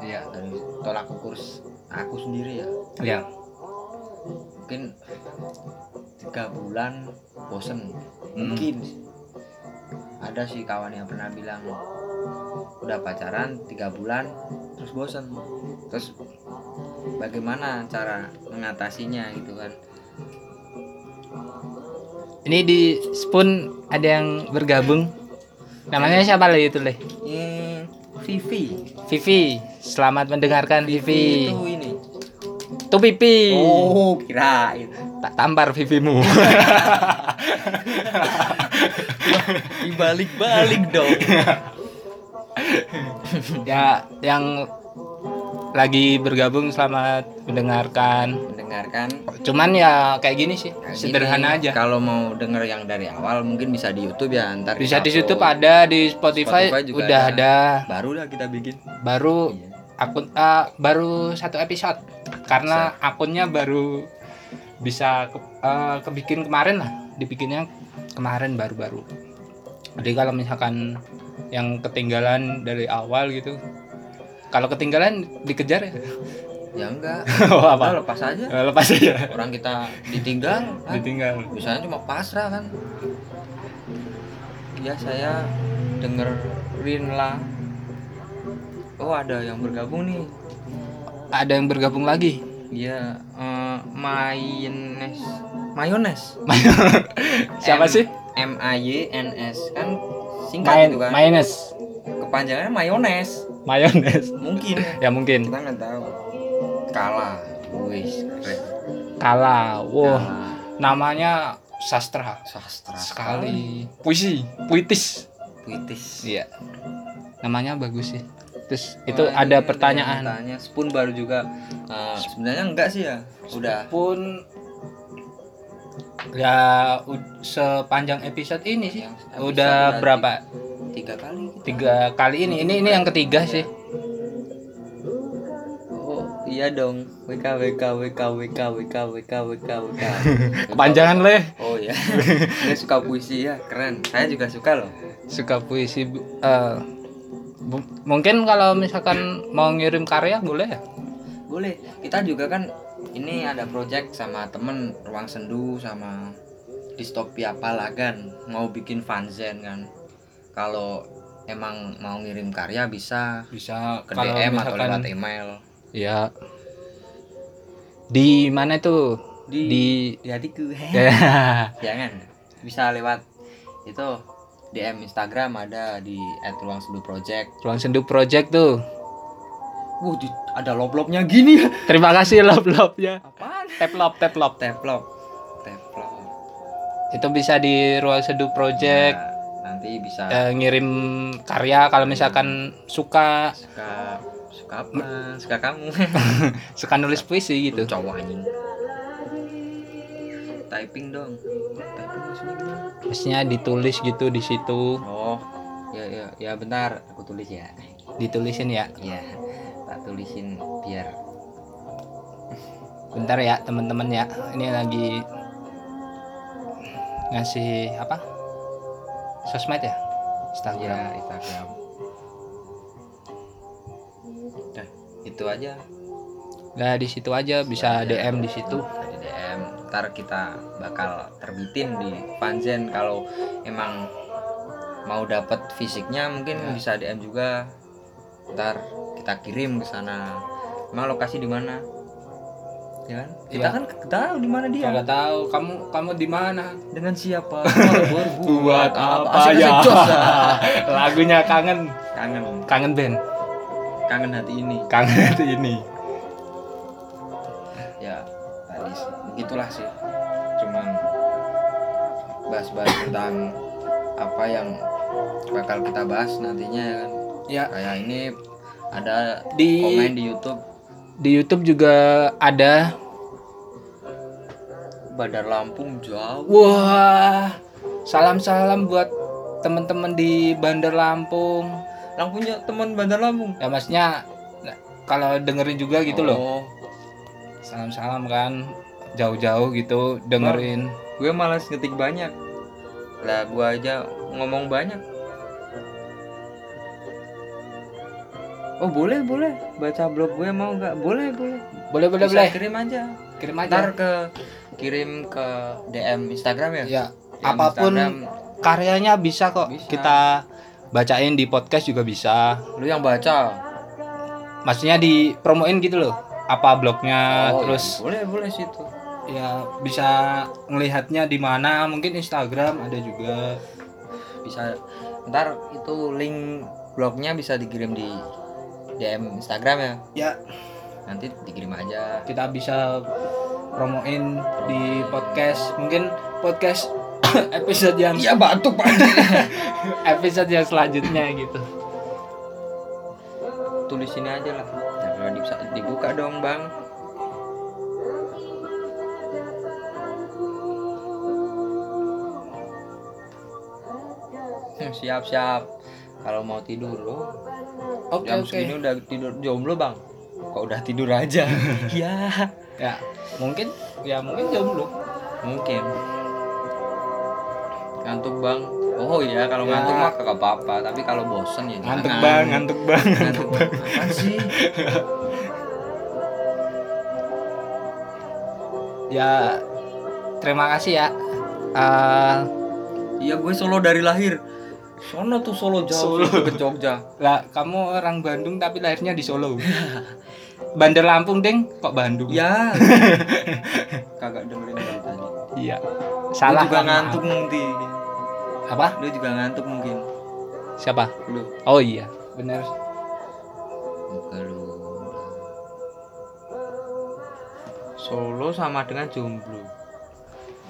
Iya. dan tolak ukur s- aku sendiri ya Iya. mungkin tiga bulan bosen Hmm. mungkin ada sih kawan yang pernah bilang udah pacaran tiga bulan terus bosen terus bagaimana cara mengatasinya gitu kan Ini di Spoon ada yang bergabung. Namanya siapa lah itu leh? Hmm. eh Vivi Vivi. Selamat mendengarkan Vivi. itu ini Tuh Pipi. oh kirain Tak tampar Vivimu. dibalik balik dong ya, yang lagi bergabung selamat mendengarkan. mendengarkan Cuman ya kayak gini sih, Nah, sederhana ini aja. kalau mau denger yang dari awal mungkin bisa di YouTube ya ntar kita Bisa di YouTube upload. ada, di Spotify, Spotify juga udah ada. ada. baru lah kita bikin Baru Iya. akun eh, baru satu episode karena akunnya baru bisa ke, eh, kebikin kemarin lah dibikinnya kemarin baru-baru jadi kalau misalkan yang ketinggalan dari awal gitu kalau ketinggalan dikejar ya ya enggak oh, Kita apa lepas aja Eh, lepas aja orang kita ditinggal kan? ditinggal misalnya cuma pasrah kan ya saya dengerin lah oh ada yang bergabung nih ada yang bergabung lagi ya eh, mayones mayones siapa M- sih M A Y N S kan singkat main itu kan minus kepanjangannya mayones mayones mungkin ya mungkin kita nggak tahu kalah wis keren kala wow Kalah. namanya sastra sastra sekali puisi puitis puitis Iya. Namanya bagus sih. Itu terus itu ada pertanyaan Tanya Spoon baru juga eh, sebenarnya enggak sih ya. Udah. pun ya u- sepanjang episode ini sih Yang episode udah udah berapa Tiga kali. Iya. tiga kali ini ini ini yang ketiga sih Oh, iya dong. WK WK WK WK WK WK WK WK. kepanjangan leh Oh ya. Ini suka puisi ya, keren. Saya juga suka loh. suka puisi bu- eh, bu- mungkin kalau misalkan mau ngirim karya boleh ya Boleh. Kita juga kan ini ada project sama temen Ruang Sendu sama Distopia Palagan kan. mau bikin fanzine kan. Kalau emang mau ngirim karya bisa bisa ke DM atau lewat email. ya di mana tuh Di- di Di hatiku. ya Jangan. Bisa lewat itu DM Instagram ada di @ruangsenduproject. ruang sendu project tuh Wuh, di- ada lop-lopnya gini ya. terima kasih lop lopnya Apaan? tap lop tap lop Teplop. Teplop. itu bisa di ruang sendu project Nah, nanti bisa eh, ngirim karya kalau misalkan suka suka suka apa? Suka kamu. suka nulis puisi Lu gitu cowok anjing. Typing dong. Typing maksudnya gimana? maksudnya ditulis gitu di situ Oh. Ya ya ya bentar, aku tulis ya. ditulisin ya Iya. Tak tulisin biar bentar ya teman-teman ya ini lagi ngasih apa sosmed ya Instagram ya Instagram. Dah, itu aja. nah di situ aja bisa Aja. DM di situ Iya, Bisa di DM ntar kita bakal terbitin di fanzine kalau emang mau dapat fisiknya mungkin Ya. bisa DM juga ntar kita kirim ke sana emang lokasi di mana ya kan kita Iya. kan tahu di mana dia Kagak tahu kamu kamu di mana dengan siapa buat apa Asik-asik ya jos, ah. lagunya kangen kangen kangen band kangen hati ini kangen ini ya tadi sih. gitulah sih cuman bahas-bahas tentang apa yang bakal kita bahas nantinya ya kan ya kayak ini ada Di- komen di YouTube di YouTube juga ada Bandar Lampung jauh wah salam salam buat teman-teman di Bandar Lampung yang punya teman Bandar Lampung ya maksudnya kalau dengerin juga gitu loh Oh, salam-salam kan jauh-jauh gitu dengerin gue malas ngetik banyak lah gue aja ngomong banyak oh boleh boleh baca blog gue mau nggak boleh boleh boleh boleh Bisa boleh kirim aja kirim ntar aja ke kirim ke DM Instagram ya, ya DM apapun Instagram. karyanya bisa kok Bisa. kita bacain di podcast juga bisa lu yang baca maksudnya di promoin gitu loh apa blognya Oh, Ah, terus ya, boleh boleh situ ya bisa melihatnya di mana mungkin Instagram ada juga bisa ntar itu link blognya bisa dikirim di DM Instagram ya ya nanti dikirim aja kita bisa promoin di podcast mungkin podcast episode yang iya batuk pak episode yang selanjutnya gitu tulis sini aja lah Nah, kalau bisa dibuka dong bang Hmm, siap siap kalau mau tidur lo oke jam oke segini udah tidur jomblo bang kok udah tidur aja ya ya mungkin ya mungkin jomblo mungkin ngantuk bang oh iya kalau Ya. ngantuk mah kagak apa-apa tapi kalau bosen ya jangan Nah. ngantuk bang ngantuk bang Apaan sih ya terima kasih ya Eh, Iya gue Solo dari lahir. Sono tuh Solo jauh Solo. ke Jogja. lah kamu orang Bandung tapi lahirnya di Solo Bandar Lampung ding kok Bandung Ya. Kagak dengerin dari tadi. iya Lu salah juga maaf. ngantuk mungkin. apa Lu juga ngantuk mungkin. siapa Lu. oh iya bener Muka lu. Solo sama dengan jomblo.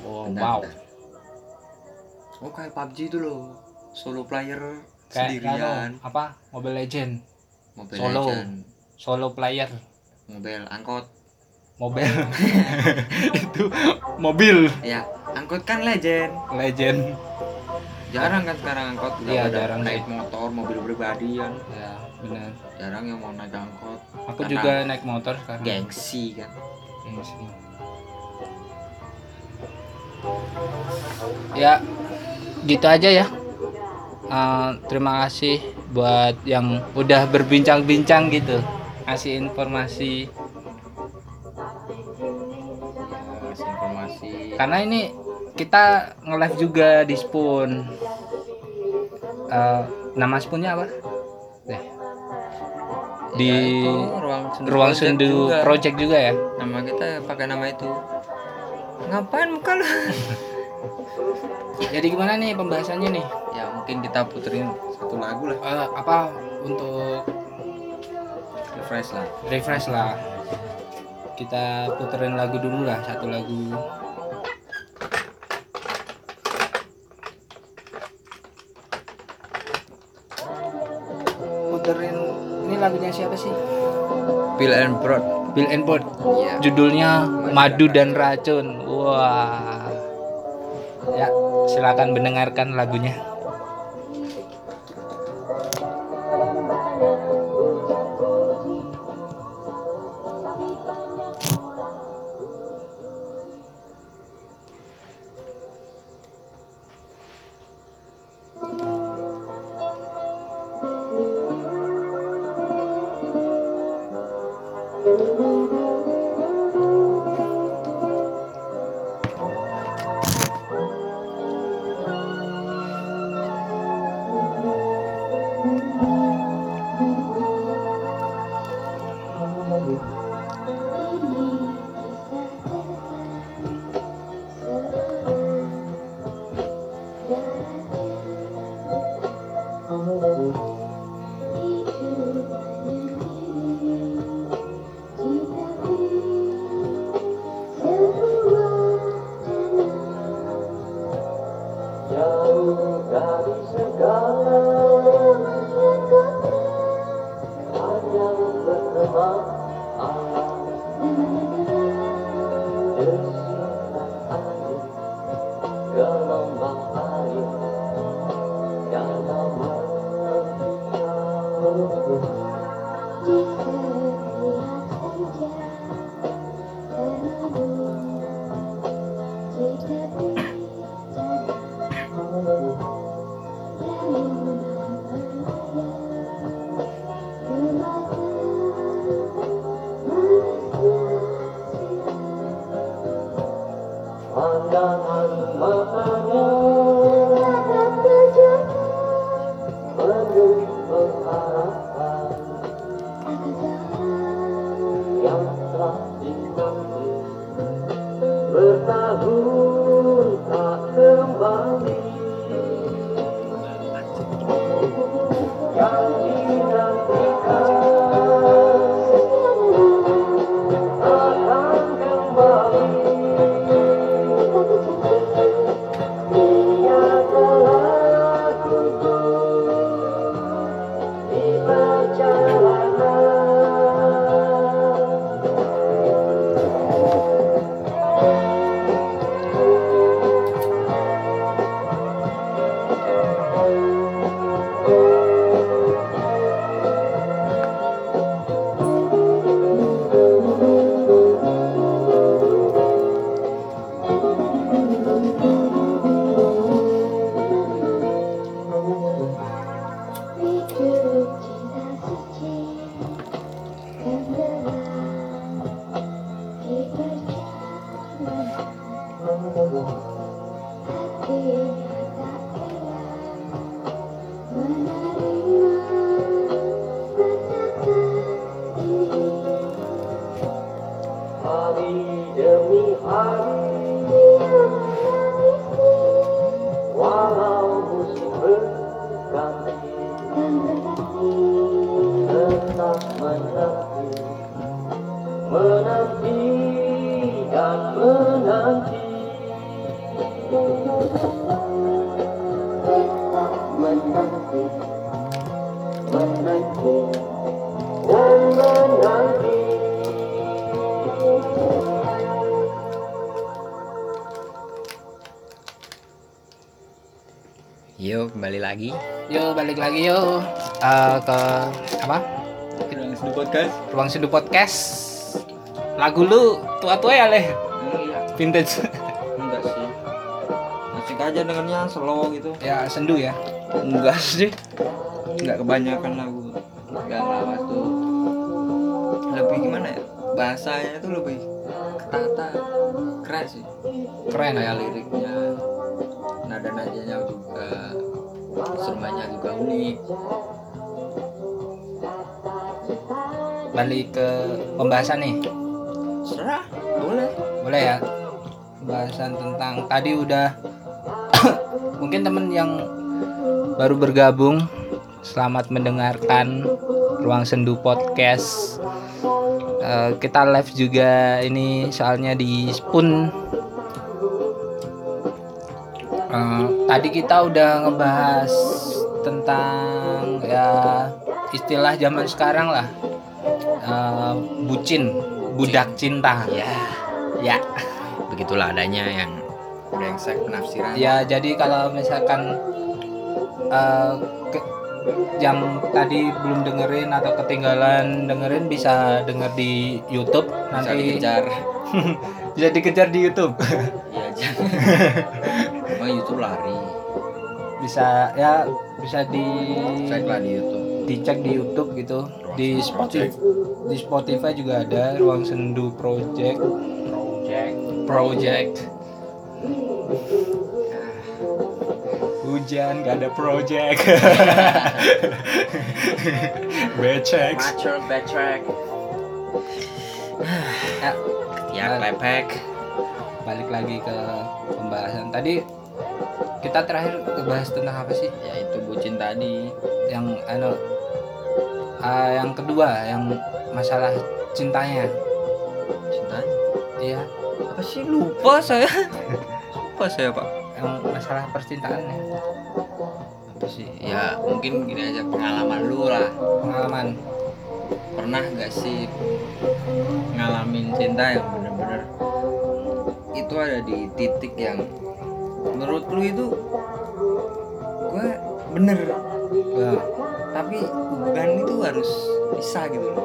oh, Bentar, wow bentar. Oh kayak PUBG itu loh. Solo player kayak sendirian. anu, apa Mobile Legend Mobile Solo. Legend, solo player mobile, angkot. mobil itu mobil Ya, angkot kan legend. legend Jarang kan sekarang angkot udah Iya, pada jarang naik motor, mobil pribadi kan. ya benar Jarang yang mau naik angkot. aku Karena juga naik motor sekarang gengsi kan. Gengsi. ya gitu aja ya Eh, terima kasih buat yang udah berbincang-bincang gitu ngasih informasi Ya, kasih informasi. karena ini kita nge-live juga di Spoon Eh, nama Spoonnya apa? Deh, di Ya, itu ruang sendu, Ruang Project Sendu juga. Project juga ya Nama kita pakai nama itu. Ngapain muka lu? jadi gimana nih pembahasannya nih? ya mungkin kita puterin satu lagu lah. Eh, apa untuk Refresh lah. refresh lah kita puterin lagu dulu lah satu lagu puterin ini lagunya siapa sih Bill and Broad. Bill and Board Iya. judulnya Madu dan Racun wah ya silakan mendengarkan lagunya Thank lagi Yo balik lagi yo Eh, ke apa? Ruang Seduh Podcast. Ruang Sindu Podcast. Lagu lu tua-tua ya leh. Iya. Vintage. enggak sih asik aja dengernya slow gitu ya sendu ya. enggak sih enggak kebanyakan lagu enggak lawas tuh lebih gimana ya bahasanya tuh lebih ketata keren sih Keren ya. kayak liriknya nada nadanya juga semuanya juga unik Balik ke pembahasan nih. serah boleh boleh ya pembahasan tentang tadi udah mungkin temen yang baru bergabung selamat mendengarkan ruang sendu podcast Eh, kita live juga ini soalnya di Spoon Eh, tadi kita udah ngebahas tentang ya istilah zaman sekarang lah Eh, bucin budak cinta Iya. ya ya begitulah adanya yang brengsek penafsiran Ya jadi kalau misalkan eh, ke- yang tadi belum dengerin atau ketinggalan dengerin bisa denger di YouTube bisa nanti dikejar bisa dikejar di YouTube iya jangan emang YouTube lari bisa ya bisa di cek lah di YouTube dicek di YouTube gitu di Spotify di Spotify juga ada ruang sendu project project hujan gak ada project becek Macul backtrack Nah. ya lepek balik lagi ke pembahasan tadi kita terakhir bahas tentang apa sih ya itu bucin tadi yang ano ah, yang kedua yang masalah cintanya cintanya iya apa sih lupa saya lupa saya pak yang masalah percintaan ya apa sih ya mungkin gini aja pengalaman lu lah pengalaman pernah nggak sih ngalamin cinta yang bener-bener itu ada di titik yang menurut lu itu gue bener Iya. Wah, tapi hubungan itu harus bisa gitu loh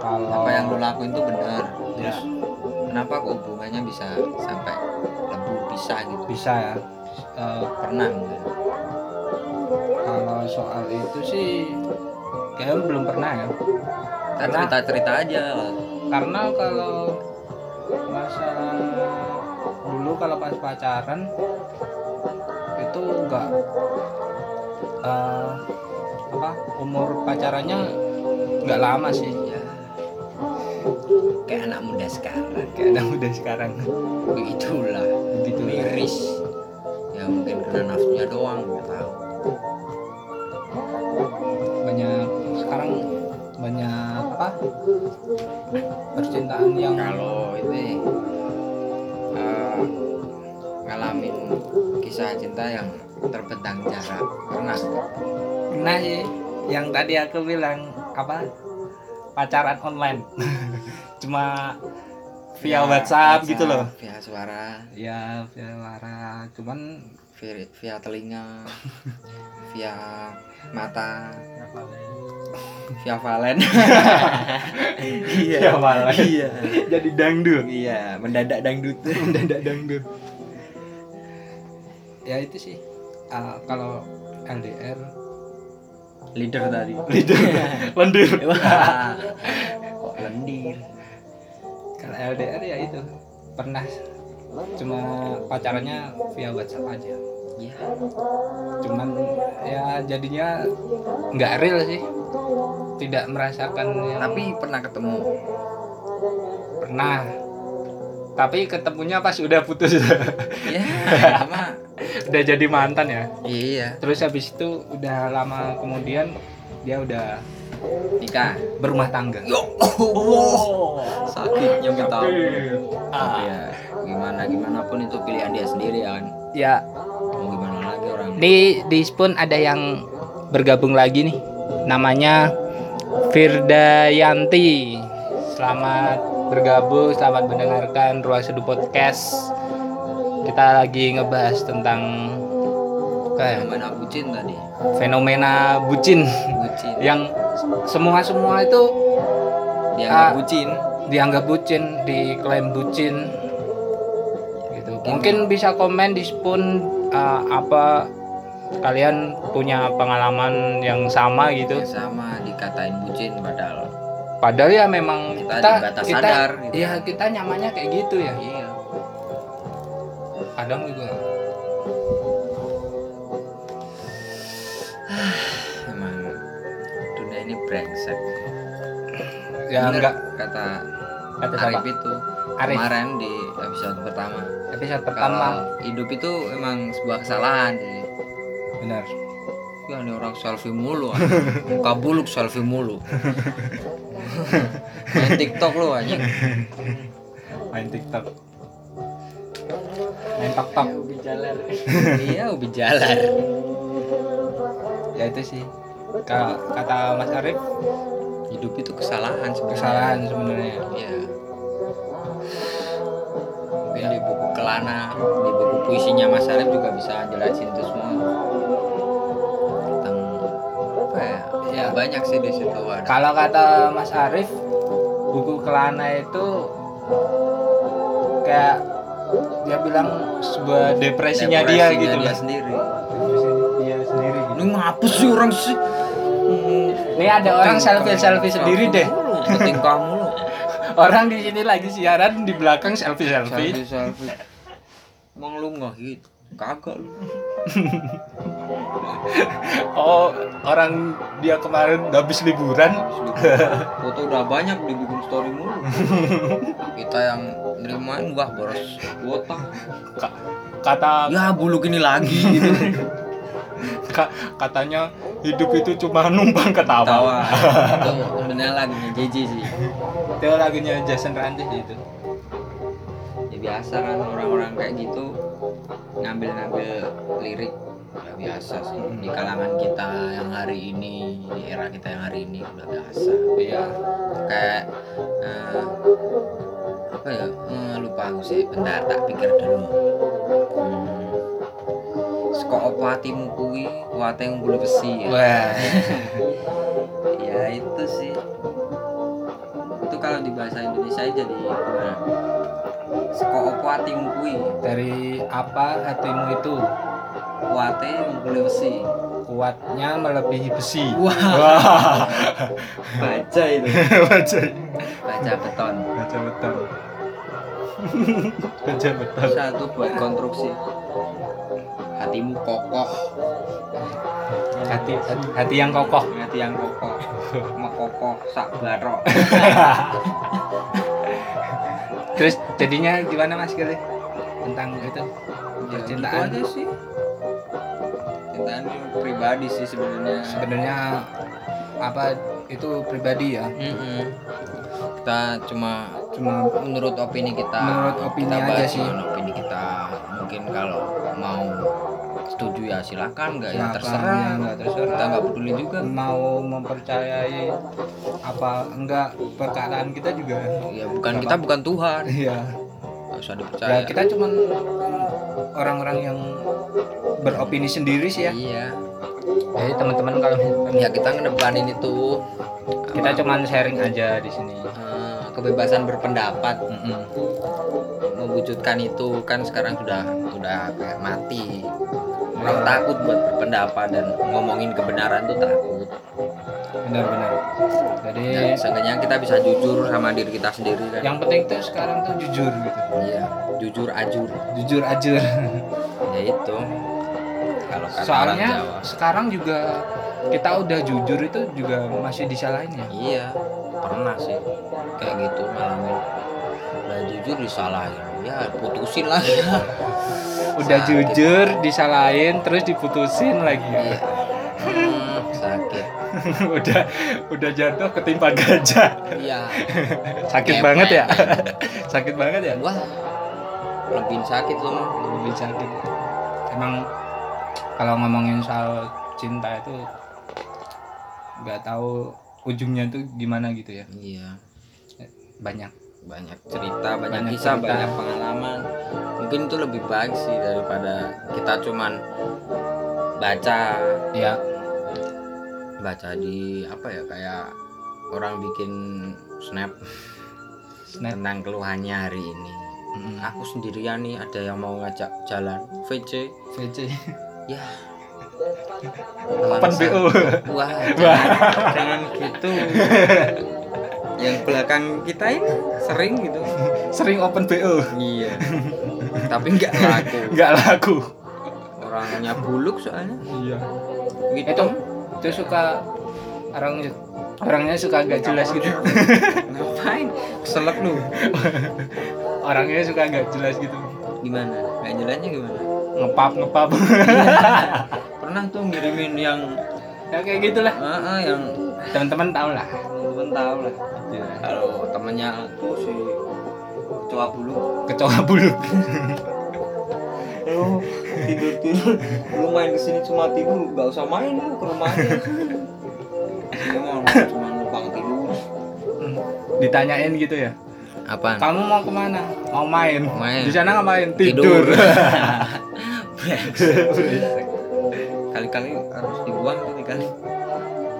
kalau apa yang lu lakuin itu bener Ya. terus kenapa kok hubungannya bisa sampai lebu bisa gitu bisa ya Eh, pernah mungkin kalau soal itu sih kayaknya belum pernah ya kita Pernah. cerita cerita aja lah karena kalau masalah dulu kalau pas pacaran itu enggak eh, apa umur pacarannya nggak lama sih ya kayak anak muda sekarang kayak anak udah sekarang Gitu. begitulah begitu miris ya mungkin karena nafsunya doang nggak tahu banyak sekarang banyak apa percintaan yang kalau itu eh, ngalamin kisah cinta yang terbentang jarak pernah Nah sih, yang tadi aku bilang apa pacaran online, cuma via WhatsApp gitu loh. via suara Ya via WhatsApp, cuman via, via telinga via mata via valen Via valen. iya jadi dangdut, iya mendadak dangdut mendadak dangdut. Ya itu sih, Ah, kalau LDR, leader tadi lendir. Wah, kok lendir Kalau LDR ya itu pernah cuma pacarannya via WhatsApp aja. ya cuman ya jadinya nggak real sih tidak merasakan yang tapi pernah ketemu pernah tapi ketemunya pas udah putus ya sama udah jadi mantan ya iya terus habis itu udah lama kemudian dia udah nikah berumah tangga yo oh, sakitnya minta ampun. Ah. ya gimana gimana pun itu pilihan dia sendiri ya kan ya mau gimana lagi orang di di Spoon ada yang bergabung lagi nih namanya Firdayanti selamat bergabung selamat mendengarkan ruang seduh podcast kita lagi ngebahas tentang Kayak fenomena bucin tadi ya, fenomena bucin bucin yang semua semua itu dianggap Ah. bucin dianggap bucin, diklaim bucin. Gitu. Hmm. Mungkin bisa komen di Spoon eh, apa kalian punya pengalaman yang sama gitu. yang sama dikatain bucin padahal Padahal ya memang Kita kita di batas sadar gitu. Ya kita nyamannya kayak gitu ya. iya Kadang juga emang dunia ini brengsek ya Bener enggak kata kata siapa? Arif itu Arif. kemarin di episode pertama Episode pertama. kalau hidup itu emang sebuah kesalahan jadi Benar. Ya ini orang selfie mulu anjing. Muka buluk selfie mulu Main tiktok lu anjing Main TikTok. Main TikTok. Ubi jalan. Iya ubi jalar Ya itu sih. Ka- Kata Mas Arif Hidup itu kesalahan sebenarnya kesalahan sebenarnya. Iya Mungkin di buku Kelana Di buku puisinya Mas Arif juga bisa jelasin itu semua Tentang apa ya Ya banyak sih di situ ada Kalau kata Mas Arif, buku Kelana itu kayak dia bilang sebuah depresinya, dia Depresinya gitu dia lah. sendiri Depresi dia sendiri gitu. Lu ngapus sih orang sih Hmm. Ini ada orang selfie selfie sendiri deh. Ketingkah mulu Orang di sini lagi siaran di belakang selfie selfie selfie. selfie emang lu nggak hit kagak lu Oh, orang dia kemarin habis liburan. Asli. foto udah banyak dibikin story mulu kita yang nerimain wah boros kuota Ka- Kata ya buluk ini lagi gitu ka- katanya hidup itu cuma numpang ketawa. tawa itu sebenarnya lagunya JJ sih Itu lagunya Jason Rantis gitu. itu. ya biasa kan orang-orang kayak gitu ngambil-ngambil lirik ya biasa sih di kalangan kita yang hari ini di era kita yang hari ini udah biasa Iya. kayak eh, apa ya Eh, lupa aku sih bentar tak pikir dulu hmm. seko opo atimu kuwi kuwate ngumpul besi ya. Wah. ya itu sih itu kalau di bahasa Indonesia jadi nah, gimana seko opo atimu kuwi Dari apa hatimu itu kuwate ngumpul besi kuatnya melebihi besi. wah Wah, baca itu baca, baca beton baca beton, baca beton. satu buat konstruksi hatimu kokoh Hati, hati, hati yang kokoh. Ngati yang kokoh, mekokoh sak barok. Terus jadinya gimana mas Kili? Tentang itu Ya, gitu Cintaan. aja sih. Cintaan pribadi sih sebenarnya. sebenarnya apa itu pribadi ya? Mm-mm. Kita cuma Cuma menurut opini kita. Menurut opini kita aja bahas sih. dengan opini kita. Mungkin kalau mau setuju ya silakan, nggak ya Silakan, terserah. ya, nggak terserah. Kita nggak peduli juga. mau mempercayai apa enggak perkataan kita juga. Ya bukan kita bukan Tuhan. Iya. Nggak usah dipercaya. Ya, kita cuman orang-orang yang beropini sendiri sih ya. Iya. Jadi Eh, teman-teman kalau Ya kita ngedepanin itu. kita apa, cuman sharing aja di sini. eh, kebebasan berpendapat. Mm-mm. mewujudkan itu kan sekarang sudah udah kayak mati orang takut buat berpendapat dan ngomongin kebenaran tuh takut Benar-benar. Jadi dan seenggaknya kita bisa jujur sama diri kita sendiri kan Iya. yang penting tuh sekarang tuh jujur gitu. iya jujur ajur Jujur aja. ya itu kalau kata Soalnya orang Jawa sekarang juga kita udah jujur itu juga masih disalahin ya. iya pernah sih kayak gitu ngalamin udah jujur disalahin ya putusin lah Iya. ya Udah Sakit. jujur disalahin terus diputusin lagi ya. Iya. Hmm, sakit udah udah jatuh ketimpa gajah. iya Sakit Ngepet. banget ya. Sakit banget ya. wah lebih sakit lu mah lebih cantik emang kalau ngomongin soal cinta itu nggak tahu ujungnya tuh gimana gitu ya iya banyak banyak cerita banyak, Banyak kisah cerita. banyak pengalaman mungkin itu lebih baik sih daripada kita cuman baca ya baca di apa ya kayak orang bikin snap snap tentang keluhannya hari ini Mm, aku sendirian nih ada yang mau ngajak jalan VC VC ya Open Alasan. BO wah jangan, jangan gitu yang belakang kita ini sering gitu sering open BO iya tapi nggak laku nggak laku orangnya buluk soalnya iya gitu itu itu suka orang orangnya suka nggak jelas gitu ngapain keselak lu orangnya suka nggak jelas gitu gimana nggak jelasnya gimana ngepap ngepap pernah tuh ngirimin yang ya kayak gitulah ah, ah, yang teman-teman tau lah temen tahu lah Iya. kalau temennya tuh si kecoa buluk kecoa bulu lu tidur tidur lu main kesini cuma tidur nggak usah main lu ke rumahnya dia mau cuma numpang tidur ditanyain gitu ya apaan kamu mau kemana mau main, Main. di sana ngapain Tidur. tidur, kali-kali harus dibuang kali kali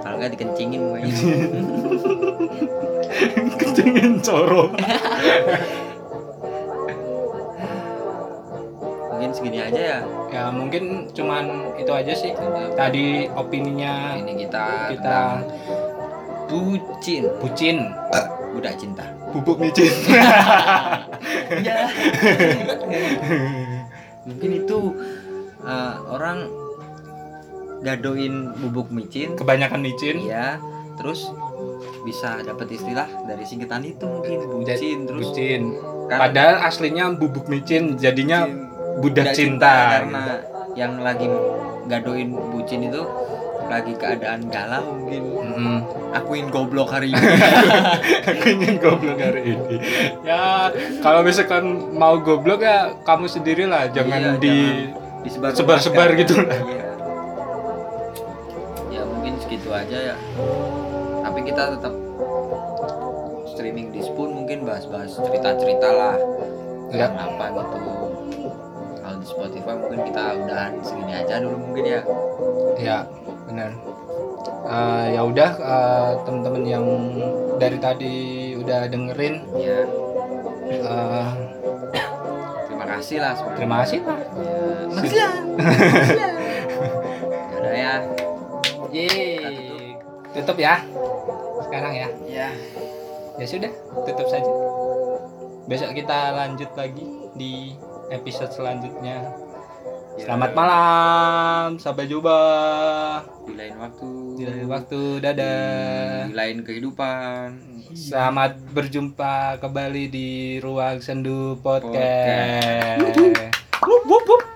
kalau nggak dikencingin kayaknya kencingin coro mungkin segini aja ya ya mungkin cuman itu aja sih tadi opininya ini kita kita tentang bucin bucin budak cinta bubuk micin Iya. mungkin itu eh, orang gadoin bubuk micin kebanyakan micin Iya, terus bisa dapat istilah dari singkatan itu mungkin bucin terus bucin kan padahal aslinya bubuk micin jadinya bucin, budak budak cinta, gitu. karena yang lagi gadoin bucin itu lagi keadaan galau mungkin Mm-mm. akuin goblok hari ini aku ingin goblok hari ini ya kalau misalkan mau goblok ya kamu Iya, sendirilah jangan di disebar Sebar-sebar gitu lah. Iya. ya mungkin segitu aja ya tapi kita tetap streaming di Spoon mungkin bahas-bahas cerita-cerita lah Ya. Yang apa gitu kalau di Spotify mungkin kita udahan segini aja dulu mungkin ya ya benar Eh, ya udah eh, teman-teman yang dari tadi udah dengerin ya eh, terima kasih lah sebenarnya terima kasih pak Ya, Makasih ya udah ya Kita Yeay. Tutup ya. Sekarang ya. ya Ya sudah, tutup saja. Besok kita lanjut lagi di episode selanjutnya. Selamat malam. Sampai jumpa. di lain waktu Di lain waktu. ya. di Dadah. lain kehidupan Selamat berjumpa kembali di Ruang Sendu Podcast. Podcast. Wup, wup, wup.